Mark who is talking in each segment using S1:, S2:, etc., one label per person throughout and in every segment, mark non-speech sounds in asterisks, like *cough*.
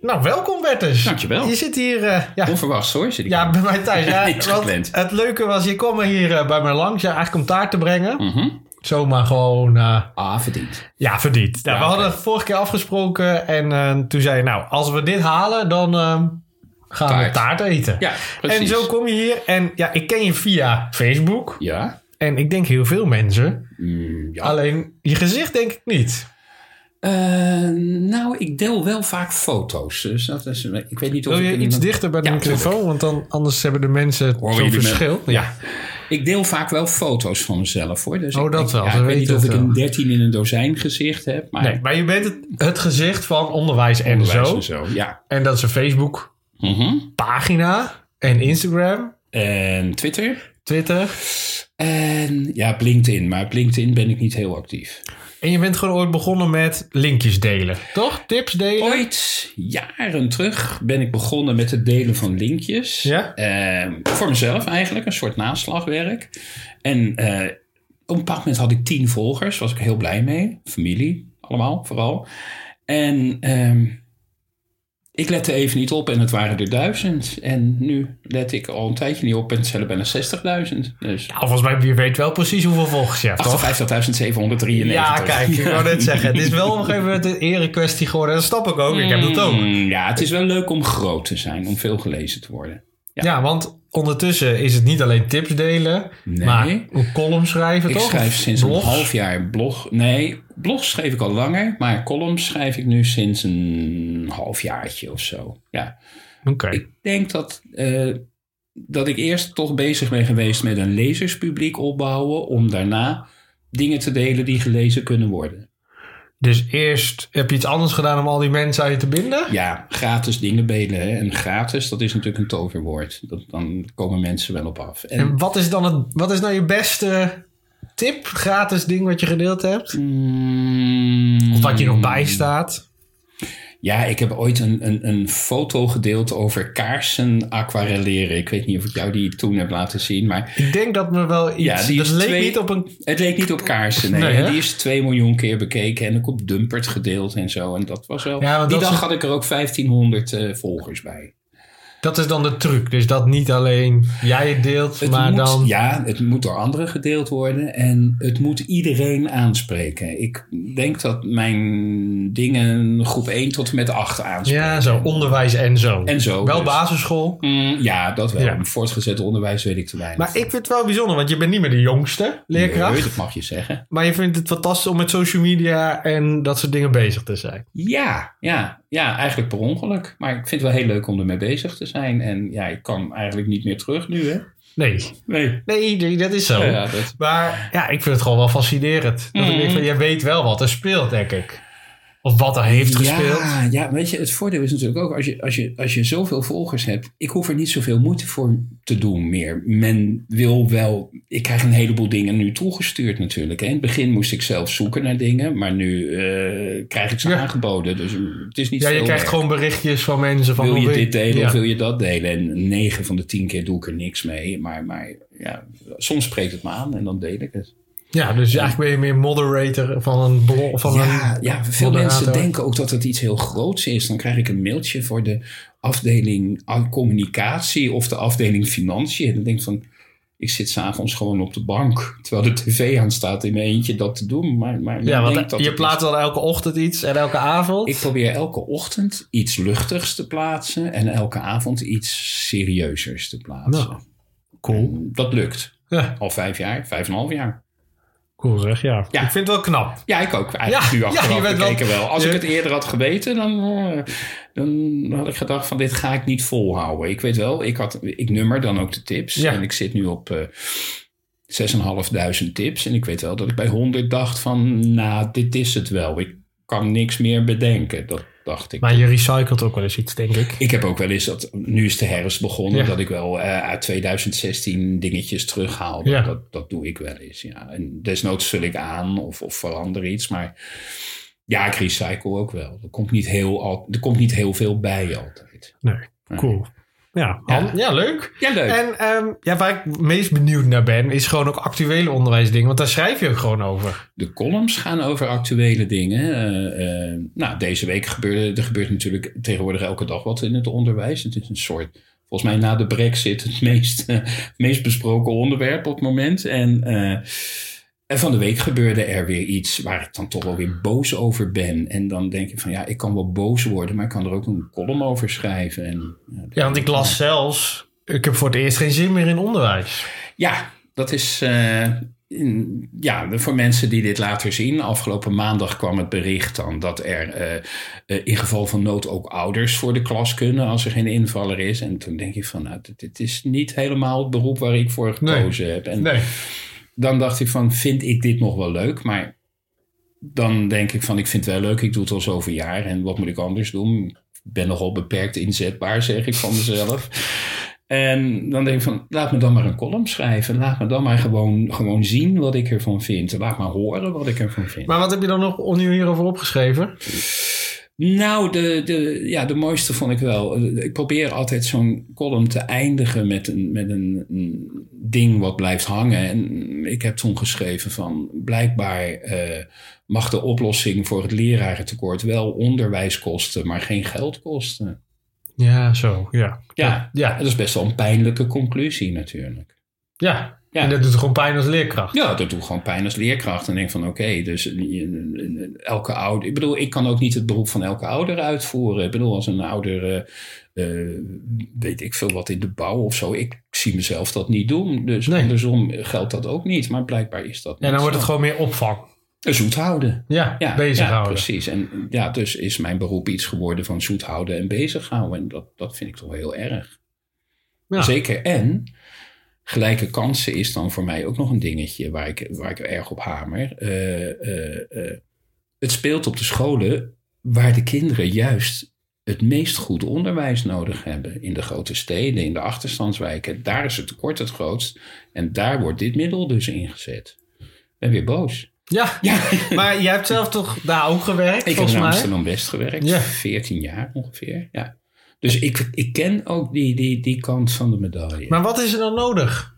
S1: Nou, welkom Bertus.
S2: Dankjewel.
S1: Je zit hier... eh, ja,
S2: Onverwachts hoor, zit ik
S1: *laughs* ja,
S2: hier.
S1: bij mij
S2: *laughs*
S1: thuis. Ja,
S2: Niks
S1: want
S2: gepland.
S1: het leuke was, je kwam hier eh, bij mij langs. Ja, eigenlijk om taart te brengen.
S2: Mhm.
S1: Zomaar gewoon... eh,
S2: Ah, verdiend.
S1: ja, verdiend. Nou,
S2: Ja,
S1: we
S2: oké.
S1: hadden het vorige keer afgesproken. En eh, toen zei je, nou, als we dit halen, dan ehm, gaan we
S2: Taart.
S1: taart eten.
S2: Ja, precies.
S1: En zo kom je hier. En ja, ik ken je via Facebook.
S2: Ja.
S1: En ik denk heel veel mensen.
S2: Mm, ja.
S1: Alleen je gezicht denk ik niet.
S2: Eh, nou, ik deel wel vaak foto's. Dus dat is, ik weet niet of
S1: Wil
S2: ik
S1: je
S2: een-
S1: iets dichter bij de
S2: Ja,
S1: microfoon? Want dan, anders hebben de mensen
S2: Horen
S1: zo'n
S2: jullie me?
S1: verschil. Ja.
S2: Ik deel vaak wel foto's van mezelf hoor. Dus
S1: Oh,
S2: ik,
S1: dat
S2: ik-
S1: wel.
S2: ja,
S1: Ze
S2: ik weet niet
S1: weten
S2: of
S1: het
S2: ik een
S1: wel.
S2: 13 in een dozijn gezicht heb. Maar
S1: Nee, maar je bent het, het gezicht van onderwijs en
S2: onderwijs dus.
S1: zo.
S2: en zo. Ja.
S1: En dat is een Facebook
S2: Mhm.
S1: pagina. En Instagram.
S2: En Twitter.
S1: Twitter.
S2: En ja, op LinkedIn. Maar op LinkedIn ben ik niet heel actief.
S1: En je bent gewoon ooit begonnen met linkjes delen. Toch? Tips delen?
S2: Ooit, jaren terug, ben ik begonnen met het delen van linkjes.
S1: Ja.
S2: Eh, voor mezelf eigenlijk, een soort naslagwerk. En eh, op een bepaald moment had ik tien volgers, was ik heel blij mee. Familie, allemaal, vooral. En ehm, ik lette even niet op en het waren er duizend. En nu let ik al een tijdje niet op en het zijn er bijna 60.000. Dus
S1: Nou, volgens mij, je weet wel precies hoeveel volgers je hebt,
S2: *laughs*
S1: toch?
S2: 58.793.
S1: Ja, kijk, ik wou
S2: *laughs*
S1: net zeggen. Het is wel op een gegeven moment een erekwestie geworden. Dat snap ik ook. Ik heb dat ook.
S2: Mm, Ja, het is wel leuk om groot te zijn, om veel gelezen te worden.
S1: Ja, want ondertussen is het niet alleen tips delen,
S2: Nee.
S1: maar een column schrijven
S2: Ik
S1: toch?
S2: schrijf sinds
S1: Blogs?
S2: een half jaar blog. Nee, blog schreef ik al langer, maar columns schrijf ik nu sinds een halfjaartje of zo. Ja,
S1: Oké.
S2: ik denk dat, eh, dat ik eerst toch bezig ben geweest met een lezerspubliek opbouwen, om daarna dingen te delen die gelezen kunnen worden.
S1: Dus eerst heb je iets anders gedaan om al die mensen aan je te binden?
S2: Ja, gratis dingen delen. Hè? En gratis, dat is natuurlijk een toverwoord. Dat, dan komen mensen wel op af. En,
S1: En wat is dan het, wat is nou je beste tip, gratis ding wat je gedeeld hebt?
S2: Mm,
S1: Of wat je nog bij staat?
S2: Ja, ik heb ooit een, een, een foto gedeeld over kaarsen aquarelleren. Ik weet niet of ik jou die toen heb laten zien, maar
S1: Ik denk dat me wel iets.
S2: Ja, die
S1: dat
S2: is
S1: leek
S2: twee-
S1: niet op een.
S2: het leek niet op kaarsen. Nee,
S1: Nee, hè?
S2: die is 2 miljoen keer bekeken en ook op Dumpert gedeeld en zo. En dat was wel.
S1: Ja, want
S2: die
S1: dat
S2: dag
S1: is-
S2: had ik er ook 1500 eh, volgers bij.
S1: Dat is dan de truc. Dus dat niet alleen jij het deelt,
S2: Het
S1: maar
S2: moet,
S1: dan.
S2: Ja, het moet door anderen gedeeld worden en het moet iedereen aanspreken. Ik denk dat mijn dingen groep 1 tot en met 8 aanspreken.
S1: Ja, zo onderwijs en zo.
S2: En zo,
S1: Wel
S2: dus.
S1: basisschool.
S2: Mm, ja, dat wel.
S1: Ja.
S2: Voortgezet onderwijs weet ik te weinig.
S1: Maar ik vind het wel bijzonder, want je bent niet meer de jongste leerkracht.
S2: Nee, dat mag je zeggen.
S1: Maar je vindt het fantastisch om met social media en dat soort dingen bezig te zijn.
S2: Ja, ja, ja, eigenlijk per ongeluk. Maar ik vind het wel heel leuk om ermee bezig te zijn. En ja, ik kan eigenlijk niet meer terug nu, hè?
S1: Nee, Oh.
S2: Nee.
S1: nee, nee, dat is zo.
S2: Ja, dat,
S1: Maar ja, ik vind het gewoon wel fascinerend. Dat ik
S2: Mm.
S1: denk van, jij weet wel wat er speelt, denk ik. Of wat er heeft gespeeld.
S2: Ja, ja, weet je, het voordeel is natuurlijk ook als je, als, je, als je zoveel volgers hebt. Ik hoef er niet zoveel moeite voor te doen meer. Men wil wel. Ik krijg een heleboel dingen nu toegestuurd natuurlijk. Hè. In het begin moest ik zelf zoeken naar dingen, maar nu eh, krijg ik ze
S1: Ja.
S2: aangeboden. Dus het is niet
S1: Ja, je
S2: veel
S1: krijgt
S2: werk.
S1: gewoon berichtjes van mensen van...
S2: wil je
S1: hoe
S2: dit delen
S1: Ja.
S2: of wil je dat delen? En 9 van de 10 keer doe ik er niks mee. Maar, maar ja, soms spreekt het me aan en dan deel ik het.
S1: Ja, dus eigenlijk ben je meer moderator van een blog. Van
S2: Ja,
S1: een
S2: ja, veel
S1: moderator.
S2: mensen denken ook dat het iets heel groots is. Dan krijg ik een mailtje voor de afdeling a- communicatie of de afdeling financiën. En dan denk ik van, ik zit s'avonds gewoon op de bank. Terwijl de tv aan staat in mijn eentje dat te doen. Maar, maar men
S1: Ja,
S2: denkt
S1: want
S2: dat
S1: je
S2: het
S1: plaatst dan elke ochtend iets en elke avond.
S2: Ik probeer elke ochtend iets luchtigs te plaatsen en elke avond iets serieusers te plaatsen.
S1: Nou, cool.
S2: En Dat lukt.
S1: Ja,
S2: Al vijf jaar, vijf en een half jaar.
S1: cool zeg, ja.
S2: Ja.
S1: Ik vind het wel knap.
S2: Ja, ik ook. Eigenlijk
S1: Ja,
S2: nu
S1: ja,
S2: achteraf
S1: je bent wel-
S2: bekeken wel. Als
S1: je-
S2: ik het eerder had geweten, dan, eh, dan had ik gedacht van dit ga ik niet volhouden. Ik weet wel, ik, had, ik nummer dan ook de tips.
S1: Ja.
S2: En ik zit nu op eh 6.500 tips. En ik weet wel dat ik bij 100 dacht van nou, dit is het wel. Ik kan niks meer bedenken. Dat dacht ik.
S1: Maar je recycelt ook wel eens iets, denk ik.
S2: Ik heb ook wel eens dat, nu is de herfst begonnen,
S1: Ja.
S2: dat ik wel eh, uit 2016 dingetjes terughaal.
S1: Ja.
S2: Dat, dat doe ik wel eens. Ja. En desnoods vul ik aan of, of verander iets. Maar ja, ik recycle ook wel. Er komt niet heel, al, er komt niet heel veel bij altijd.
S1: Nee, cool. Ja, Han- ja leuk.
S2: Ja, leuk.
S1: En ehm, ja, waar ik het meest benieuwd naar ben, is gewoon ook actuele onderwijsdingen. Want daar schrijf je ook gewoon over.
S2: De columns gaan over actuele dingen. Eh, eh, nou, deze week gebeurde er gebeurt natuurlijk tegenwoordig elke dag wat in het onderwijs. Het is een soort, volgens mij na de brexit, het meest, *laughs* eh, meest besproken onderwerp op het moment. En, eh, en van de week gebeurde er weer iets waar ik dan toch wel weer boos over ben. En dan denk ik van ja, ik kan wel boos worden, maar ik kan er ook een column over schrijven. En, eh,
S1: Ja, want ik las zelfs, ik heb voor het eerst geen zin meer in onderwijs.
S2: Ja, dat is. eh, in- ja, voor mensen die dit later zien. Afgelopen maandag kwam het bericht dan dat er eh, eh, in geval van nood ook ouders voor de klas kunnen als er geen invaller is. En toen denk ik van, nou, dit, dit is niet helemaal het beroep waar ik voor gekozen heb. En
S1: Nee.
S2: dan dacht ik van, vind ik dit nog wel leuk? Maar dan denk ik van, ik vind het wel leuk. Ik doe het al zoveel jaar en wat moet ik anders doen? Ik ben nogal beperkt inzetbaar, zeg ik van mezelf. En dan denk ik van, laat me dan maar een column schrijven. Laat me dan maar gewoon, gewoon zien wat ik ervan vind. Laat maar horen wat ik ervan vind.
S1: Maar wat heb je dan nog nu hierover opgeschreven?
S2: Nou, de, de, ja, de mooiste vond ik wel. Ik probeer altijd zo'n column te eindigen met een, met een een ding wat blijft hangen. En ik heb toen geschreven van blijkbaar eh, mag de oplossing voor het lerarentekort wel onderwijs kosten, maar geen geld kosten.
S1: Ja, zo, ja.
S2: Ja,
S1: Ja.
S2: dat is best wel een pijnlijke conclusie natuurlijk.
S1: Ja,
S2: Ja.
S1: en dat doet gewoon pijn als leerkracht.
S2: Ja, dat doet gewoon pijn als leerkracht. En denk van oké, dus je- elke ouder. Ik bedoel, ik kan ook niet het beroep van elke ouder uitvoeren. Ik bedoel, als een ouder, eh, eh, weet ik veel wat in de bouw of zo. Ik zie mezelf dat niet doen. Dus
S1: Nee.
S2: andersom geldt dat ook niet. Maar blijkbaar is dat.
S1: Ja, dan wordt het gewoon meer opvang.
S2: gewoon. Zoet houden.
S1: Ja,
S2: Ja, ja,
S1: bezighouden.
S2: precies. En ja, dus is mijn beroep iets geworden van zoet houden en bezig houden. En dat, dat vind ik toch wel heel erg.
S1: Ja.
S2: Zeker. En gelijke kansen is dan voor mij ook nog een dingetje waar ik, waar ik erg op hamer. Eh, eh, eh, het speelt op de scholen waar de kinderen juist het meest goed onderwijs nodig hebben. In de grote steden, in de achterstandswijken. Daar is het tekort het grootst. En daar wordt dit middel dus ingezet. Ik ben weer boos.
S1: Ja,
S2: Ja,
S1: maar jij hebt zelf toch daar ook gewerkt,
S2: ik heb
S1: volgens
S2: in
S1: mij?
S2: Amsterdam West gewerkt,
S1: Ja.
S2: 14 jaar ongeveer. Ja. Dus ik, ik ken ook die, die, die kant van de medaille.
S1: Maar wat is er dan nodig?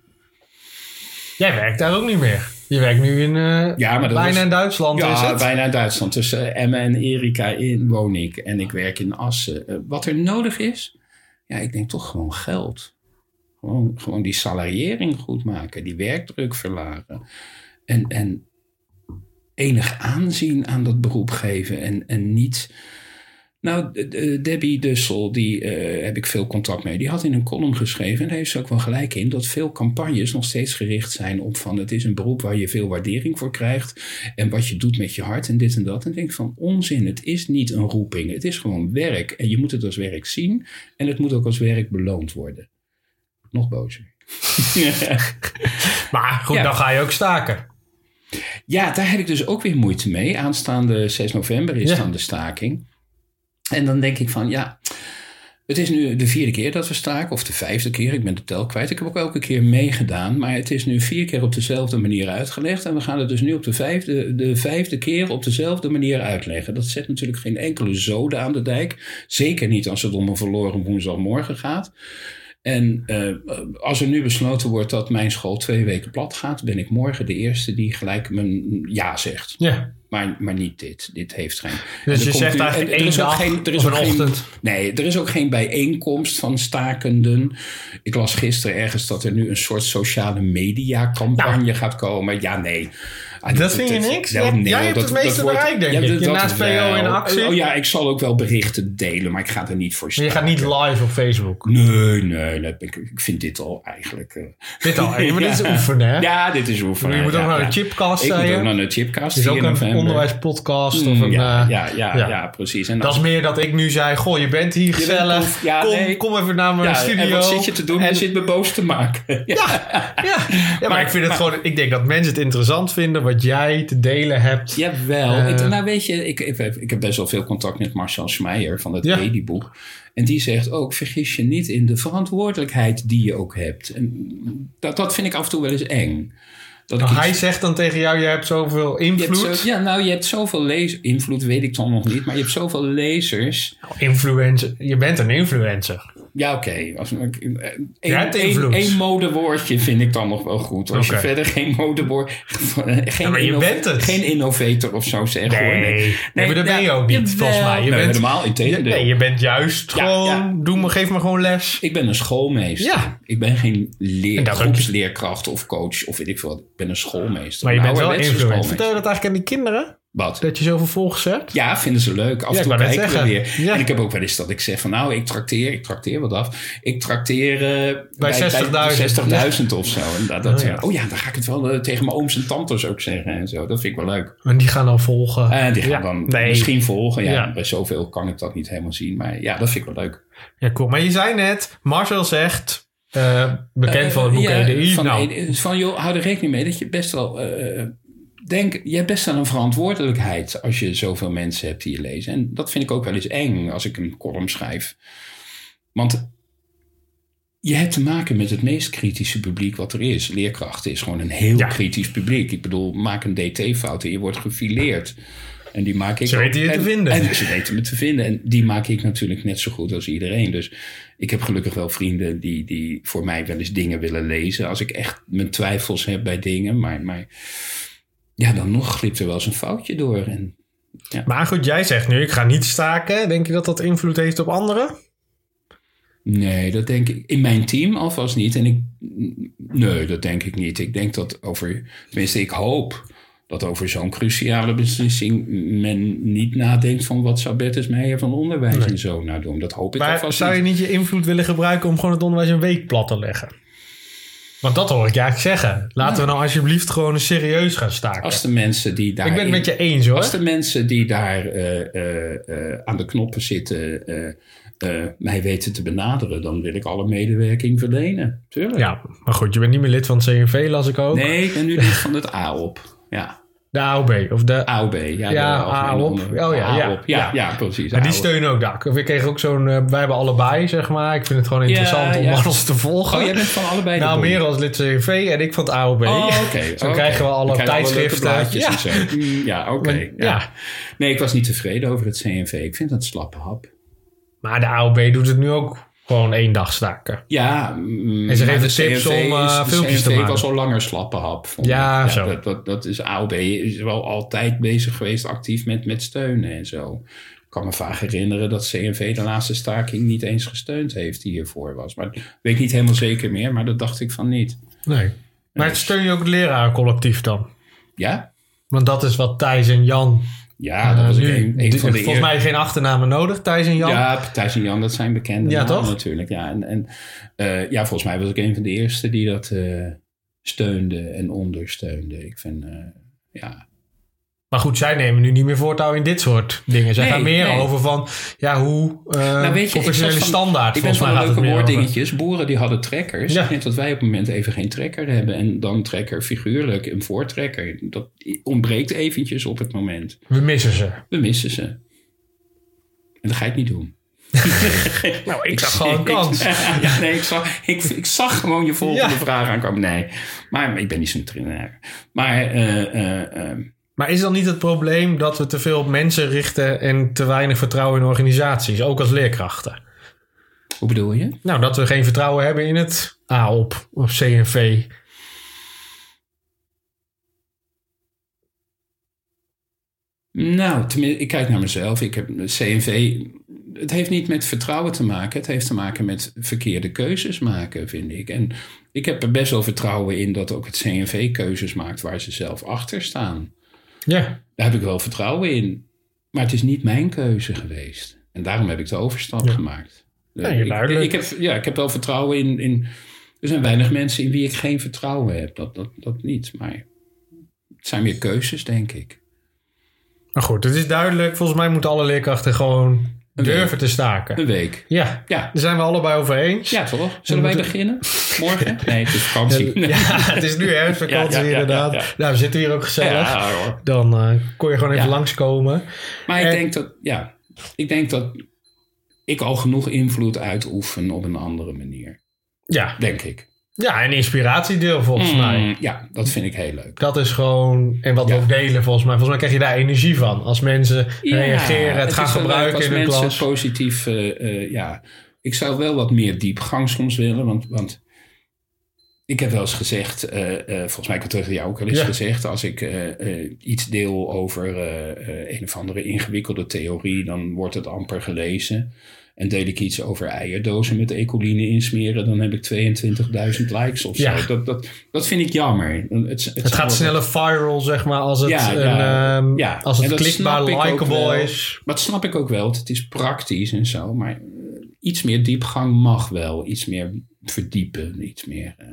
S1: Jij werkt daar ook niet meer. Je werkt nu in eh,
S2: ja, maar dat
S1: bijna
S2: was-
S1: in Duitsland, is
S2: ja,
S1: het?
S2: bijna in Duitsland. Tussen eh, Emma en Erika in woon ik en ik werk in Assen. Eh, wat er nodig is, ja, ik denk toch gewoon geld. Gewoon, gewoon die salariering goed maken, die werkdruk verlagen. En, en enig aanzien aan dat beroep geven en, en niet Nou, de- de- Debbie Dussel, die eh, heb ik veel contact mee. Die had in een column geschreven, en daar heeft ze ook wel gelijk in, dat veel campagnes nog steeds gericht zijn op van het is een beroep waar je veel waardering voor krijgt en wat je doet met je hart en dit en dat. En ik denk van onzin, het is niet een roeping, het is gewoon werk en je moet het als werk zien en het moet ook als werk beloond worden. Nog bozer.
S1: Maar goed,
S2: Ja.
S1: dan ga je ook staken.
S2: Ja, daar heb ik dus ook weer moeite mee. Aanstaande 6 november is
S1: Ja.
S2: dan de staking. En dan denk ik van ja, het is nu de vierde keer dat we staken, of de vijfde keer, ik ben de tel kwijt. Ik heb ook elke keer meegedaan, maar het is nu vier keer op dezelfde manier uitgelegd. En we gaan het dus nu op de vijfde, de vijfde keer op dezelfde manier uitleggen. Dat zet natuurlijk geen enkele zoden aan de dijk. Zeker niet als het om een verloren woensdagmorgen gaat. En eh, als er nu besloten wordt dat mijn school twee weken plat gaat, ben ik morgen de eerste die gelijk mijn ja zegt.
S1: Ja.
S2: Maar, maar niet dit. Dit heeft geen. En
S1: Dus
S2: er
S1: je
S2: komt
S1: zegt
S2: nu-
S1: eigenlijk
S2: en er
S1: één
S2: is ook
S1: dag
S2: geen- er is
S1: of
S2: ook
S1: een
S2: geen-
S1: ochtend.
S2: Nee, er is ook geen bijeenkomst van stakenden. Ik las gisteren ergens dat er nu een soort sociale media campagne gaat komen. Ja, nee. Ah, dit-
S1: vind je
S2: dit-
S1: niks?
S2: wel,
S1: Jij- jij hebt het meeste
S2: wordt-
S1: bereikt, denk
S2: Ja,
S1: ik.
S2: dat-
S1: Je
S2: dat
S1: naast PO in
S2: wel.
S1: actie.
S2: Oh ja, ik zal ook wel berichten delen, maar ik ga er niet voor
S1: Je
S2: staan.
S1: gaat niet live op Facebook.
S2: Nee, nee, nee, ik, ik vind dit al eigenlijk... eh,
S1: Dit
S2: *laughs*
S1: al, Ah, maar dit is oefenen, hè?
S2: Ja, dit is oefenen.
S1: je moet ook
S2: ja,
S1: naar
S2: ja.
S1: de chipcast
S2: Ik moet ook
S1: zijn.
S2: naar de Chipcast.
S1: Het is ook
S2: 4
S1: een
S2: november.
S1: onderwijspodcast of
S2: Mm,
S1: een...
S2: ja,
S1: eh,
S2: ja, ja,
S1: ja.
S2: ja, precies. En
S1: Dat is meer dat ik nu zei, goh, je bent hier
S2: bent
S1: gezellig.
S2: tof. Ja,
S1: kom,
S2: nee.
S1: kom even naar mijn
S2: ja,
S1: studio.
S2: En wat zit je te doen?
S1: En-
S2: Je zit me boos te maken. *laughs* Ja.
S1: Ja, ja, maar, ik vind het gewoon... Ik denk dat mensen het interessant vinden wat jij te delen hebt.
S2: Jawel.
S1: Eh.
S2: Ik- nou weet je, ik, ik, heb- ik heb best wel veel contact met Marcel Schmeijer van het
S1: Ja.
S2: Babyboek. En die zegt ook, vergis je niet in de verantwoordelijkheid die je ook hebt. En dat, dat vind ik af en toe wel eens eng. Dat ik
S1: Nou,
S2: iets-
S1: hij zegt dan tegen jou, je hebt zoveel
S2: je hebt
S1: invloed.
S2: zo- ja, nou, je hebt zoveel lezers. Invloed weet ik dan nog niet, maar je hebt zoveel lezers.
S1: Influencer. Je bent een influencer.
S2: Ja, oké. Als eh, een
S1: hebt invloed.
S2: Eén modewoordje vind ik dan nog wel goed. Als
S1: Oké.
S2: je verder geen modewoord... *laughs* Geen,
S1: maar je
S2: inno-
S1: bent het.
S2: geen innovator of zo zegt. hoor.
S1: Nee, maar dat ben je ook niet, volgens
S2: jawel.
S1: mij. Je
S2: nee,
S1: bent-
S2: helemaal in
S1: Je- nee, je bent juist
S2: Ja,
S1: gewoon.
S2: ja.
S1: Doe me, geef me gewoon les.
S2: Ik ben een schoolmeester.
S1: Ja.
S2: Ik ben geen leer,
S1: En dat-
S2: groepsleerkracht of coach of weet ik veel. wat. Ik ben een schoolmeester.
S1: Maar je
S2: Een
S1: bent wel
S2: ouderwetse
S1: influencer.
S2: schoolmeester.
S1: Vertel je dat eigenlijk aan die kinderen?
S2: Wat?
S1: Dat je zoveel volgers hebt?
S2: Ja, vinden ze leuk. Af
S1: Ja,
S2: en
S1: ik
S2: toe
S1: wou net
S2: kijken we
S1: zeggen.
S2: weer.
S1: Ja.
S2: En ik heb ook wel eens dat ik zeg van nou, ik trakteer, ik trakteer wat af. Ik trakteer eh, bij,
S1: 60.000.
S2: 60.000 of zo. En dat, dat,
S1: Oh
S2: oh,
S1: ja.
S2: ja. dan ga ik het wel eh, tegen mijn ooms en tantes ook zeggen en zo. Dat vind ik wel leuk.
S1: En die gaan dan volgen.
S2: Eh, die gaan
S1: Ja,
S2: dan
S1: nee.
S2: misschien volgen. Ja,
S1: Ja.
S2: Bij zoveel kan ik dat niet helemaal zien. Maar ja, dat vind ik wel leuk.
S1: Ja, cool. Maar je zei net, Marcel zegt, eh, bekend van het boek
S2: Eh, ja,
S1: EDI.
S2: Van,
S1: nou,
S2: EDI. Dus van, joh, hou er rekening mee dat je best wel... eh, denk, je hebt best wel een verantwoordelijkheid als je zoveel mensen hebt die je lezen. En dat vind ik ook wel eens eng als ik een column schrijf. Want je hebt te maken met het meest kritische publiek wat er is. Leerkrachten is gewoon een heel
S1: Ja.
S2: kritisch publiek. Ik bedoel, maak een DT-fout en je wordt gefileerd. En die maak ik
S1: Ze weten je
S2: en-
S1: te vinden.
S2: En ze weten me te vinden. En die maak ik natuurlijk net zo goed als iedereen. Dus ik heb gelukkig wel vrienden die, die voor mij wel eens dingen willen lezen. Als ik echt mijn twijfels heb bij dingen. Maar, maar ja, dan nog glipt er wel eens een foutje door. En
S1: maar goed, jij zegt nu, ik ga niet staken. Denk je dat dat invloed heeft op anderen?
S2: Nee, dat denk ik in mijn team alvast niet. En ik, nee, dat denk ik niet. Ik denk dat over, tenminste, ik hoop dat over zo'n cruciale beslissing men niet nadenkt van wat zou Bertus Meijer van onderwijs en zo nou doen. Dat hoop ik
S1: Maar
S2: alvast
S1: zou je
S2: niet.
S1: niet je invloed willen gebruiken om gewoon het onderwijs een week plat te leggen? Want dat hoor ik je eigenlijk zeggen. Laten we nou alsjeblieft gewoon eens serieus gaan staken.
S2: Als de mensen die daar
S1: ik ben het met je eens hoor.
S2: als de mensen die daar eh, eh, eh, aan de knoppen zitten eh, eh, mij weten te benaderen, dan wil ik alle medewerking verlenen. Tuurlijk.
S1: Ja, maar goed, je bent niet meer lid van het CNV, las ik ook.
S2: Nee, ik ben nu lid van het AOP. Ja.
S1: De AOB. Of de,
S2: AOB.
S1: Ja,
S2: Ja, de
S1: AOB.
S2: algemene onder-
S1: Oh ja, ja.
S2: AOB. Ja,
S1: Ja.
S2: ja. precies.
S1: maar die
S2: AOB.
S1: steunen ook daar. Of ik kreeg ook zo'n. eh, wij hebben allebei, zeg maar. Ik vind het gewoon interessant om
S2: ja.
S1: alles te volgen.
S2: Oh, jij bent van allebei de
S1: Nou,
S2: boel.
S1: meer als lid CV en ik van het AOB. *laughs*
S2: Oh, oké.
S1: Zo
S2: oké.
S1: krijgen we alle
S2: Dan krijgen
S1: tijdschriften.
S2: leuke blaadjes
S1: Ja.
S2: en zo. Mm, Ja, oké.
S1: Maar-
S2: ja.
S1: ja.
S2: Nee, ik was niet tevreden over het CNV. Ik vind dat slappe hap.
S1: Maar de AOB doet het nu ook gewoon één dag staken.
S2: Ja. mm,
S1: En ze
S2: maar
S1: geven
S2: de
S1: tips
S2: CNV
S1: om, eh,
S2: is- de
S1: filmpjes te
S2: CNV
S1: maken.
S2: was al langer slappe hap. vond
S1: Ja,
S2: ik.
S1: zo.
S2: Dat, dat, dat is AOB is wel altijd bezig geweest actief met, met steunen en zo. Ik kan me vaak herinneren dat CNV de laatste staking niet eens gesteund heeft die hiervoor was. Maar ik weet niet helemaal zeker meer, maar dat dacht ik van niet.
S1: Nee. Maar steun je ook het lerarencollectief dan?
S2: Ja?
S1: Want dat is wat Thijs en Jan.
S2: Ja, dat was
S1: eh, nu-
S2: een, een
S1: die-
S2: van de
S1: volgens mij geen achternamen nodig, Thijs en Jan.
S2: Ja, Thijs en Jan, dat zijn bekende
S1: Ja,
S2: namen
S1: toch?
S2: natuurlijk. Ja, en, en eh, ja, volgens mij was ik een van de eerste die dat eh, steunde en ondersteunde. Ik vind, eh, ja.
S1: Maar goed, zij nemen nu niet meer voortouw in dit soort dingen. Zij
S2: Nee,
S1: gaan meer
S2: nee.
S1: over van, ja, hoe eh
S2: ik was
S1: professionele
S2: van-
S1: standaard.
S2: Ik ben
S1: Volgens
S2: van
S1: mij
S2: de
S1: gaat het
S2: leuke
S1: meer over.
S2: woorddingetjes. Boeren die hadden trekkers.
S1: Ja.
S2: Net dat wij op het moment even geen trekker hebben. En dan trekker figuurlijk, een voortrekker. Dat ontbreekt eventjes op het moment.
S1: We missen ze.
S2: We missen ze. En dat ga ik niet doen.
S1: *laughs* Nou, ik zag gewoon een kans.
S2: *laughs* ja, nee, ik zag, ik, ik zag gewoon je volgende
S1: Ja.
S2: vraag aankomen. Nee, maar ik ben niet zo'n trainer. Maar eh, eh, eh,
S1: Maar is dan niet het probleem dat we te veel op mensen richten en te weinig vertrouwen in organisaties, ook als leerkrachten?
S2: hoe bedoel je?
S1: Nou, dat we geen vertrouwen hebben in het AOP of CNV.
S2: Nou, tenminste, ik kijk naar mezelf. Ik heb CNV. Het heeft niet met vertrouwen te maken. Het heeft te maken met verkeerde keuzes maken, vind ik. En ik heb er best wel vertrouwen in dat ook het CNV keuzes maakt waar ze zelf achter staan.
S1: Ja,
S2: Daar heb ik wel vertrouwen in. Maar het is niet mijn keuze geweest. En daarom heb ik de overstap gemaakt. Eh,
S1: Ja,
S2: ik,
S1: duidelijk.
S2: Ik heb, ja, ik heb wel vertrouwen in, in... Er zijn weinig mensen in wie ik geen vertrouwen heb. Dat, dat, dat niet. Maar het zijn meer keuzes, denk ik.
S1: maar goed, het is duidelijk. Volgens mij moeten alle leerkrachten gewoon durven te staken.
S2: Een week.
S1: Ja,
S2: Ja,
S1: daar zijn we allebei over eens.
S2: ja toch? Zullen wij beginnen? Morgen? Nee, het is vakantie.
S1: *laughs* Ja, het is nu herfstvakantie
S2: Ja, ja, ja,
S1: inderdaad.
S2: ja, ja.
S1: Nou, we zitten hier ook gezellig.
S2: Ja, hoor.
S1: Dan eh, kon je gewoon even
S2: Ja.
S1: langskomen.
S2: Maar ik
S1: En-
S2: denk dat, ja, ik denk dat ik al genoeg invloed uitoefen op een andere manier.
S1: Ja,
S2: Denk ik.
S1: ja een inspiratiedeel volgens mij.
S2: Mm, Ja, dat vind ik heel leuk.
S1: Dat is gewoon, en wat
S2: Ja.
S1: we ook delen volgens mij. Volgens mij krijg je daar energie van. Als mensen
S2: Ja,
S1: reageren, het, gaan
S2: is wel leuk
S1: gebruiken
S2: als
S1: in de
S2: mensen
S1: klas.
S2: het positief eh, eh, ja, ik zou wel wat meer diepgang soms willen, want, want ik heb wel eens gezegd, eh, eh, volgens mij heb ik het tegen jou ook al eens
S1: Ja.
S2: gezegd, als ik eh, eh, iets deel over eh, eh, een of andere ingewikkelde theorie, dan wordt het amper gelezen. En deel ik iets over eierdozen met E. coli insmeren, dan heb ik 22.000 likes of
S1: Ja.
S2: zo. Dat, dat, dat vind ik jammer. Het,
S1: Het gaat sneller viral, zeg maar, als het,
S2: Ja,
S1: een,
S2: ja,
S1: ehm,
S2: ja.
S1: Als het
S2: En dat
S1: klikbaar,
S2: snap ik ook wel.
S1: likable is.
S2: Maar dat snap ik ook wel. want Het is praktisch en zo. Maar eh, iets meer diepgang mag wel. Iets meer verdiepen. Iets meer, eh,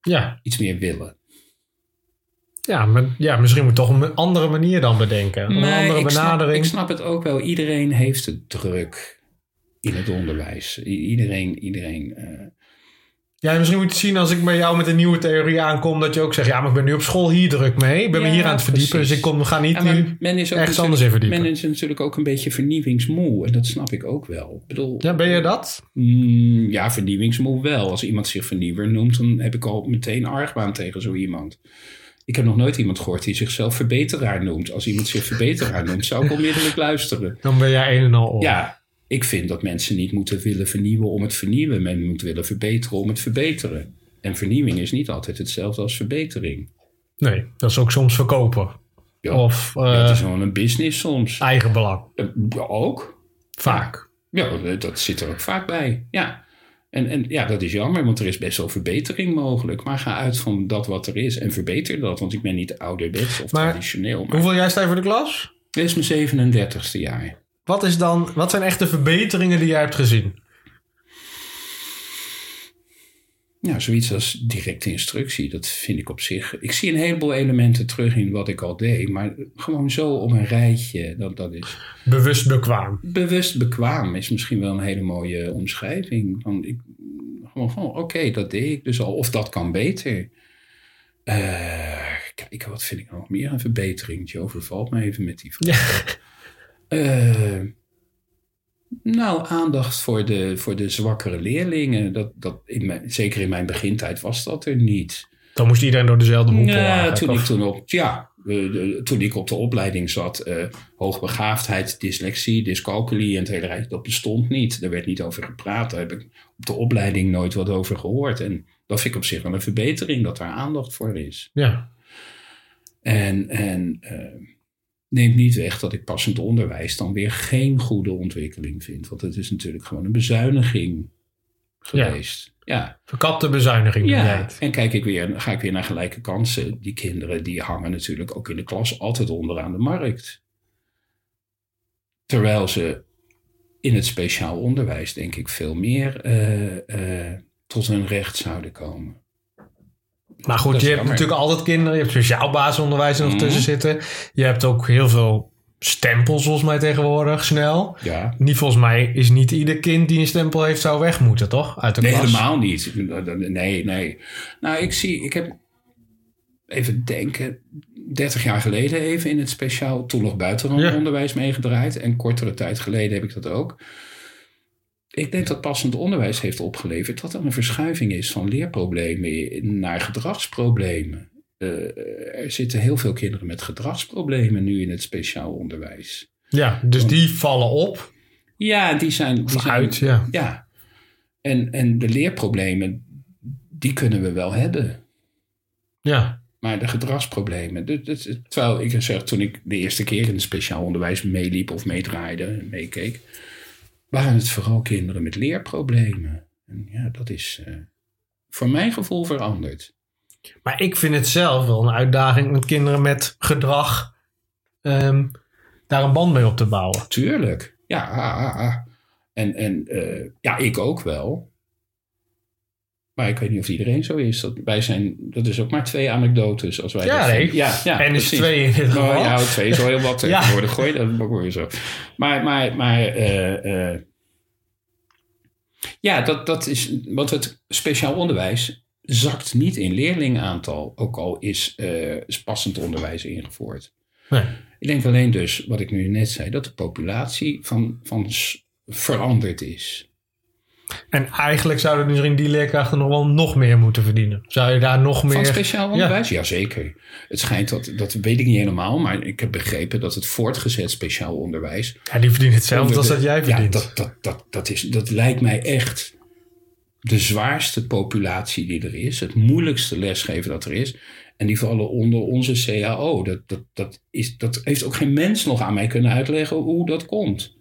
S1: Ja.
S2: iets meer willen.
S1: Ja, maar, ja, misschien moet je toch een andere manier dan bedenken. Een andere
S2: ik snap, ik
S1: benadering.
S2: snap het ook wel. Iedereen heeft het druk in het onderwijs. I- iedereen, iedereen. eh,
S1: Ja, misschien moet je het zien als ik bij jou met een nieuwe theorie aankom. Dat je ook zegt, ja, maar ik ben nu op school hier druk mee. Ik ben me
S2: Ja,
S1: hier aan het verdiepen.
S2: precies.
S1: Dus ik kom, ga niet
S2: ja,
S1: nu
S2: maar men is ook
S1: ergens anders
S2: natuurlijk-
S1: in verdiepen.
S2: Men is natuurlijk ook een beetje vernieuwingsmoe. En dat snap ik ook wel. Ik bedoel,
S1: Ja, ben je dat?
S2: Mm, ja, vernieuwingsmoe wel. Als iemand zich vernieuwer noemt, dan heb ik al meteen argwaan tegen zo iemand. Ik heb nog nooit iemand gehoord die zichzelf verbeteraar noemt. Als iemand zich verbeteraar noemt, zou ik onmiddellijk luisteren.
S1: Dan ben jij een en al oor.
S2: Ja, ik vind dat mensen niet moeten willen vernieuwen om het vernieuwen. Men moet willen verbeteren om het verbeteren. En vernieuwing is niet altijd hetzelfde als verbetering.
S1: Nee, dat is ook soms verkopen.
S2: Ja.
S1: Of eh
S2: dat is gewoon een business soms.
S1: eigenbelang.
S2: Eh, Ook.
S1: Vaak.
S2: Ja, dat- dat zit er ook vaak bij. Ja. En, en ja, dat is jammer, want er is best wel verbetering mogelijk. Maar ga uit van dat wat er is en verbeter dat. Want ik ben niet ouderwets of
S1: Maar-
S2: traditioneel. Maar
S1: Hoeveel jij staat voor de klas?
S2: dit is mijn 37ste jaar.
S1: Wat, is dan, wat zijn echt de verbeteringen die jij hebt gezien?
S2: Ja, zoiets als directe instructie, dat vind ik op zich... Ik zie een heleboel elementen terug in wat ik al deed. Maar gewoon zo op een rijtje, dat, dat is...
S1: Bewust bekwaam.
S2: bewust bekwaam is misschien wel een hele mooie omschrijving. Van ik, gewoon van, oké, dat deed ik dus al. Of dat kan beter. Eh kijken, wat vind ik nog meer een verbetering? Je overvalt me even met die vraag.
S1: Ja.
S2: Eh, nou, aandacht voor de, voor de zwakkere leerlingen. Dat, dat in mijn, zeker in mijn begintijd was dat er niet.
S1: Dan moest iedereen door dezelfde moepel.
S2: Ja,
S1: eigenlijk,
S2: toen
S1: of-
S2: ik, toen, op, ja, eh, de- toen ik op de opleiding zat, eh, hoogbegaafdheid, dyslexie, dyscalculie en het hele rijk, dat bestond niet. Daar werd niet over gepraat. Daar heb ik op de opleiding nooit wat over gehoord. En dat vind ik op zich wel een verbetering dat daar aandacht voor is.
S1: Ja.
S2: En, en eh, neemt niet weg dat ik passend onderwijs dan weer geen goede ontwikkeling vind. Want het is natuurlijk gewoon een bezuiniging geweest. ja.
S1: Verkapte bezuiniging. noem jij
S2: Ja,
S1: het.
S2: en kijk ik weer, ga ik weer naar gelijke kansen. Die kinderen die hangen natuurlijk ook in de klas altijd onderaan de markt. Terwijl ze in het speciaal onderwijs, denk ik, veel meer eh, eh, tot hun recht zouden komen.
S1: Maar goed,
S2: Dat
S1: je
S2: is
S1: hebt
S2: jammer.
S1: natuurlijk altijd kinderen. Je hebt speciaal basisonderwijs er nog
S2: Mhm.
S1: tussen zitten. Je hebt ook heel veel stempels volgens mij tegenwoordig snel.
S2: Ja.
S1: Niet volgens mij is niet ieder kind die een stempel heeft zou weg moeten, toch? Uit de
S2: Nee,
S1: klas.
S2: helemaal niet. Nee, nee. Nou, ik zie, ik heb even denken, 30 jaar geleden even in het speciaal, toen nog
S1: Ja.
S2: buitenlandonderwijs meegedraaid. En kortere tijd geleden heb ik dat ook. Ik denk dat passend onderwijs heeft opgeleverd dat er een verschuiving is van leerproblemen naar gedragsproblemen. Eh, er zitten heel veel kinderen met gedragsproblemen nu in het speciaal onderwijs.
S1: Ja, dus die vallen op.
S2: Ja, die zijn, die
S1: Of
S2: zijn
S1: uit, ja.
S2: ja. En, en de leerproblemen, die kunnen we wel hebben.
S1: Ja.
S2: Maar de gedragsproblemen. dus- dus- terwijl ik zeg, toen ik de eerste keer in het speciaal onderwijs meeliep of meedraaide en meekeek, waren het vooral kinderen met leerproblemen. En ja, dat is eh, voor mijn gevoel veranderd.
S1: Maar ik vind het zelf wel een uitdaging met kinderen met gedrag ehm, daar een band mee op te bouwen.
S2: Tuurlijk. Ja, ah, ah, ah. En, en eh, ja, ik ook wel. Maar ik weet niet of iedereen zo is. Dat, wij zijn, dat is ook maar twee anekdotes. Als wij
S1: Ja,
S2: dat
S1: nee.
S2: vinden. ja, ja,
S1: en is
S2: precies.
S1: twee in dit geval.
S2: Nou ja, twee is al heel
S1: *laughs*
S2: wat
S1: Ja.
S2: tegenwoordig. Gooi dat ook weer zo. Maar, maar, maar eh, eh, ja, dat, dat is, want het speciaal onderwijs zakt niet in leerlingaantal, ook al is, eh, is passend onderwijs ingevoerd.
S1: Nee.
S2: Ik denk alleen dus, wat ik nu net zei, dat de populatie van, van s- veranderd is.
S1: En eigenlijk zouden dus in die leerkrachten nog wel nog meer moeten verdienen. Zou je daar nog
S2: Van
S1: meer...
S2: speciaal onderwijs? Jazeker. Het schijnt dat, dat weet ik niet helemaal, maar ik heb begrepen dat het voortgezet speciaal onderwijs.
S1: Ja, die verdienen hetzelfde als
S2: onder
S1: dat
S2: de-
S1: jij verdient.
S2: Ja, dat, dat, dat, dat, is, dat lijkt mij echt de zwaarste populatie die er is. Het moeilijkste lesgeven dat er is. En die vallen onder onze CAO. Dat, dat, dat, is, dat heeft ook geen mens nog aan mij kunnen uitleggen hoe dat komt.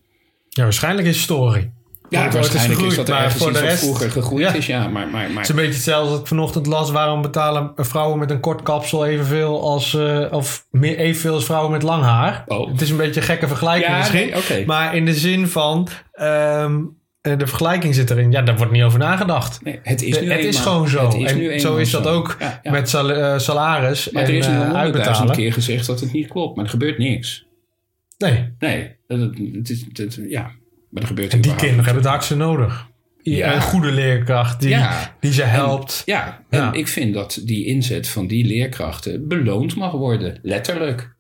S1: Ja, waarschijnlijk is story.
S2: Ja,
S1: het is
S2: waarschijnlijk is
S1: gegroeid,
S2: dat er
S1: maar
S2: ergens
S1: voor
S2: iets
S1: de
S2: wat
S1: rest-
S2: vroeger gegroeid
S1: Ja.
S2: is. Ja, maar, maar, maar
S1: Het is een beetje hetzelfde als ik vanochtend las. Waarom betalen eh, vrouwen met een kort kapsel evenveel als... eh, of meer evenveel als vrouwen met lang haar?
S2: Oh.
S1: Het is een beetje een gekke vergelijking
S2: Ja,
S1: misschien.
S2: nee, oké.
S1: Maar in de zin van... ehm, eh, de vergelijking zit erin. Ja, daar wordt niet over nagedacht.
S2: Nee, het is,
S1: De-
S2: nu
S1: het is
S2: eenmaal-
S1: gewoon zo.
S2: het is
S1: en
S2: nu
S1: zo
S2: eenmaal
S1: is dat
S2: zo.
S1: ook
S2: Ja, ja.
S1: met sal- eh, salaris
S2: Maar
S1: en
S2: er is nu
S1: eh,
S2: al honderdduizend
S1: uitbetalen.
S2: keer gezegd dat het niet klopt, maar er gebeurt niks.
S1: Nee,
S2: Nee, eh, dat, het is, dat- ja, maar er gebeurt
S1: en die
S2: überhaupt
S1: kinderen
S2: niks.
S1: hebben het hartstikke nodig. I-
S2: Ja.
S1: Een goede leerkracht die,
S2: Ja.
S1: die ze helpt.
S2: Ja, en
S1: Ja.
S2: ik vind dat die inzet van die leerkrachten beloond mag worden, letterlijk.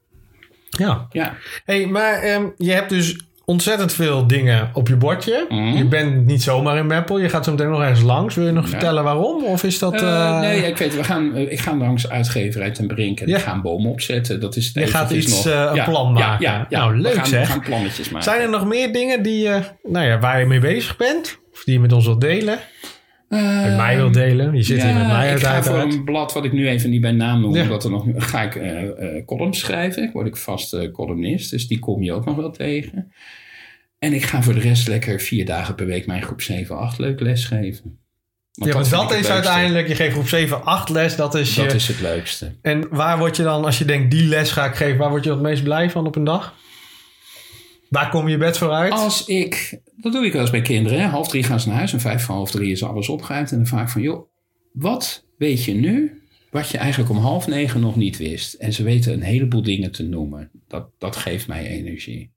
S1: ja.
S2: Ja,
S1: hey, maar ehm, je hebt dus ontzettend veel dingen op je bordje.
S2: Mhm.
S1: Je bent niet zomaar in Meppel. Je gaat zo meteen nog ergens langs. Wil je nog vertellen waarom? Of is dat...
S2: Eh,
S1: eh,
S2: nee, ik weet, we gaan, eh, ik ga langs uitgeverij Ten Brink en
S1: Ja.
S2: ik ga een boom opzetten. Dat is het
S1: Je gaat
S2: eventjes
S1: iets,
S2: nog.
S1: eh, een plan maken.
S2: Ja, ja, ja.
S1: Nou, leuk
S2: we gaan,
S1: zeg.
S2: We gaan plannetjes maken.
S1: Zijn er nog meer dingen die, je- nou ja, waar je mee bezig bent? Of die je met ons wilt delen?
S2: Eh,
S1: Met mij wilt delen? Je zit
S2: ja,
S1: hier met mij
S2: ik ga voor
S1: uiteraard.
S2: een blad wat ik nu even niet bij naam noem,
S1: Ja.
S2: omdat er nog ga ik eh, eh, columns schrijven. Ik word ik vast eh, columnist, dus die kom je ook nog wel tegen. En ik ga voor de rest lekker vier dagen per week mijn groep 7-8 leuk lesgeven.
S1: Ja, want
S2: vind
S1: dat
S2: ik het
S1: is
S2: leukste.
S1: uiteindelijk, je geeft groep 7, 8 les, dat is
S2: Dat
S1: je...
S2: is het leukste.
S1: En waar word je dan, als je denkt die les ga ik geven, waar word je het meest blij van op een dag? Waar kom je bed voor uit?
S2: Als ik, dat doe ik wel eens bij kinderen, hè. half drie gaan ze naar huis en vijf van half drie is alles opgeruimd. En dan vraag ik van, joh, wat weet je nu wat je eigenlijk om half negen nog niet wist? En ze weten een heleboel dingen te noemen. Dat, dat geeft mij energie.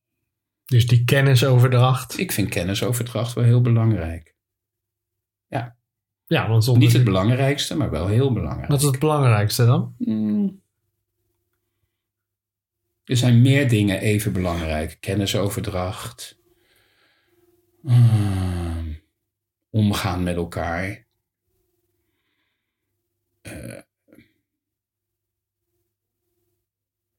S1: Dus die kennisoverdracht.
S2: Ik vind kennisoverdracht wel heel belangrijk.
S1: Ja, want zonder...
S2: Niet het belangrijkste, maar wel heel belangrijk.
S1: Wat is het belangrijkste dan?
S2: Mm. Er zijn meer dingen even belangrijk. Kennisoverdracht. Mm. Omgaan met elkaar. Eh.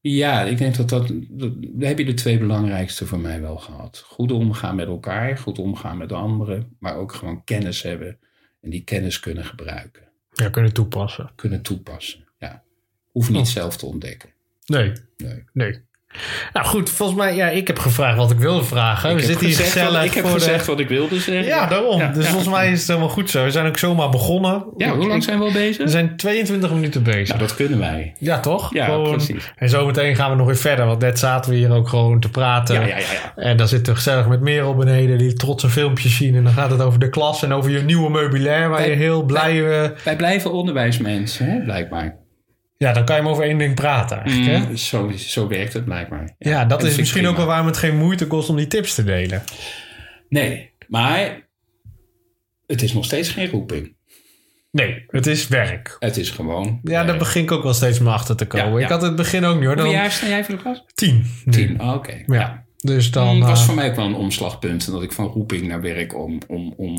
S2: ja, ik denk dat dat, dat... daar heb je de twee belangrijkste voor mij wel gehad. Goed omgaan met elkaar, goed omgaan met anderen. Maar ook gewoon kennis hebben. En die kennis kunnen gebruiken
S1: Ja, kunnen toepassen.
S2: kunnen toepassen. Ja. Hoef
S1: Oh.
S2: niet zelf te ontdekken.
S1: Nee.
S2: Nee.
S1: Nee. Nou goed, volgens mij, ja, ik heb gevraagd wat ik wilde vragen. We
S2: ik
S1: zitten hier
S2: gezegd
S1: gezellig
S2: wat, ik heb
S1: voor de-
S2: gezegd wat ik wilde zeggen.
S1: Ja, daarom.
S2: Ja,
S1: dus
S2: ja.
S1: volgens mij is het helemaal goed zo. We zijn ook zomaar begonnen.
S2: Ja, hoe lang
S1: Ik- Dus-
S2: zijn we al bezig?
S1: We zijn 22 minuten bezig.
S2: Nou, dat kunnen wij.
S1: Ja, toch?
S2: Ja,
S1: Gewoon-
S2: precies.
S1: En zometeen gaan we nog weer verder, want net zaten we hier ook gewoon te praten.
S2: Ja, ja, ja, ja.
S1: En dan zitten we gezellig met Merel beneden, die trots een filmpje zien. En dan gaat het over de klas en over je nieuwe meubilair, waar
S2: Wij-
S1: je heel blij... eh,
S2: Wij blijven onderwijsmensen, hè, blijkbaar.
S1: ja, dan kan je maar over één ding praten eigenlijk, hè?
S2: Mm, Zo, zo werkt het blijkbaar.
S1: Ja,
S2: en
S1: dat
S2: vind
S1: is
S2: ik
S1: misschien ook
S2: prima.
S1: wel waarom het geen moeite kost om die tips te delen.
S2: Nee, maar het is nog steeds geen roeping.
S1: Nee, het is werk.
S2: Het is gewoon...
S1: Ja, daar begin ik ook wel steeds meer achter te komen.
S2: Ja, ja.
S1: Ik had het begin ook niet hoor.
S2: Hoeveel
S1: Dan
S2: jaar sta jij voor de klas?
S1: tien. nu.
S2: Tien, oh, oké. Mm,
S1: Ja. Dus dan...
S2: Het was
S1: eh,
S2: voor mij ook wel een omslagpunt. En dat ik van roeping naar werk om... om, om...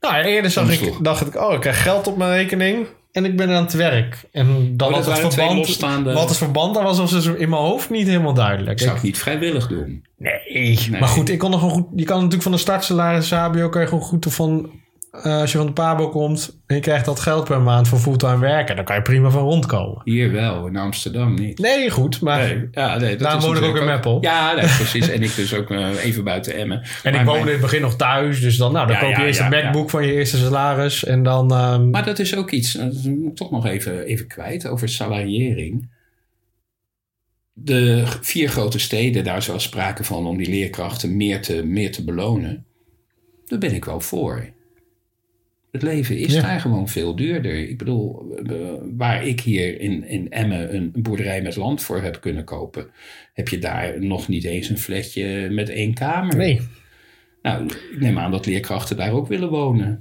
S1: Nou, eerder zag
S2: Omslag.
S1: ik, dacht ik, oh, ik krijg geld op mijn rekening en ik ben aan het werk. En dan
S2: Oh,
S1: was het
S2: dat waren twee
S1: verband,
S2: losstaande-
S1: wat het verband daar was, was dus in mijn hoofd niet helemaal duidelijk.
S2: Ik zou
S1: Ik-
S2: het niet vrijwillig doen.
S1: nee. maar goed, ik kon nog gewoon goed, je kan natuurlijk van de startsalaris HBO kan je gewoon goed van, eh, als je van de pabo komt en je krijgt dat geld per maand voor fulltime werken, dan kan je prima van rondkomen.
S2: Hier wel, in Amsterdam niet.
S1: Nee, goed, maar
S2: ja, nee, dat
S1: Daarom
S2: is
S1: woon ik ook
S2: natuurlijk
S1: in Meppel.
S2: Ja, nee, precies. en ik dus ook eh, even buiten Emmen.
S1: en ik
S2: Maar
S1: woonde
S2: mijn-
S1: in het begin nog thuis, dus dan, nou, dan
S2: Ja,
S1: koop je
S2: ja,
S1: eerst
S2: ja,
S1: een MacBook van je eerste salaris en dan... ehm,
S2: Maar dat is ook iets, dat moet ik toch nog even, even kwijt, over salariering. De g- vier grote steden, daar is wel sprake van om die leerkrachten meer te, meer te belonen. Daar ben ik wel voor. Het leven is
S1: Ja.
S2: daar gewoon veel duurder. Ik bedoel, eh, waar ik hier in, in Emmen een boerderij met land voor heb kunnen kopen, heb je daar nog niet eens een flatje met één kamer.
S1: nee,
S2: Nou, ik neem aan dat leerkrachten daar ook willen wonen.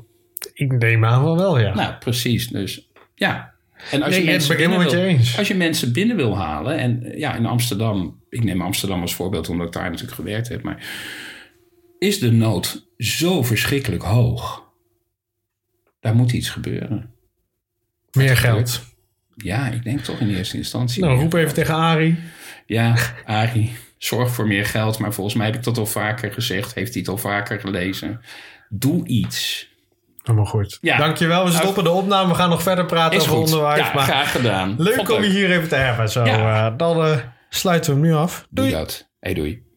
S1: ik neem aan van wel, ja.
S2: Nou, precies. Dus ja. En als,
S1: Nee,
S2: je
S1: het
S2: mensen
S1: ben ik
S2: binnen
S1: helemaal
S2: wil,
S1: met je eens.
S2: als je mensen binnen wil halen. En eh, ja, in Amsterdam. Ik neem Amsterdam als voorbeeld omdat ik daar natuurlijk gewerkt heb. Maar is de nood zo verschrikkelijk hoog Daar moet iets gebeuren.
S1: Meer geld.
S2: Ja, ik denk toch in eerste instantie.
S1: Nou, roep even tegen Arie.
S2: Ja, Arie, zorg voor meer geld. Maar volgens mij heb ik dat al vaker gezegd. Heeft hij het al vaker gelezen. Doe iets.
S1: Helemaal goed.
S2: Ja.
S1: Dankjewel. We stoppen de opname. We gaan nog verder praten
S2: Is
S1: over
S2: goed.
S1: onderwijs.
S2: ja,
S1: maar
S2: graag gedaan.
S1: leuk
S2: Vond
S1: om je hier even te hebben. Zo,
S2: Ja.
S1: eh, dan eh, sluiten we hem nu af.
S2: Doe
S1: Doei.
S2: dat. Hey, doei.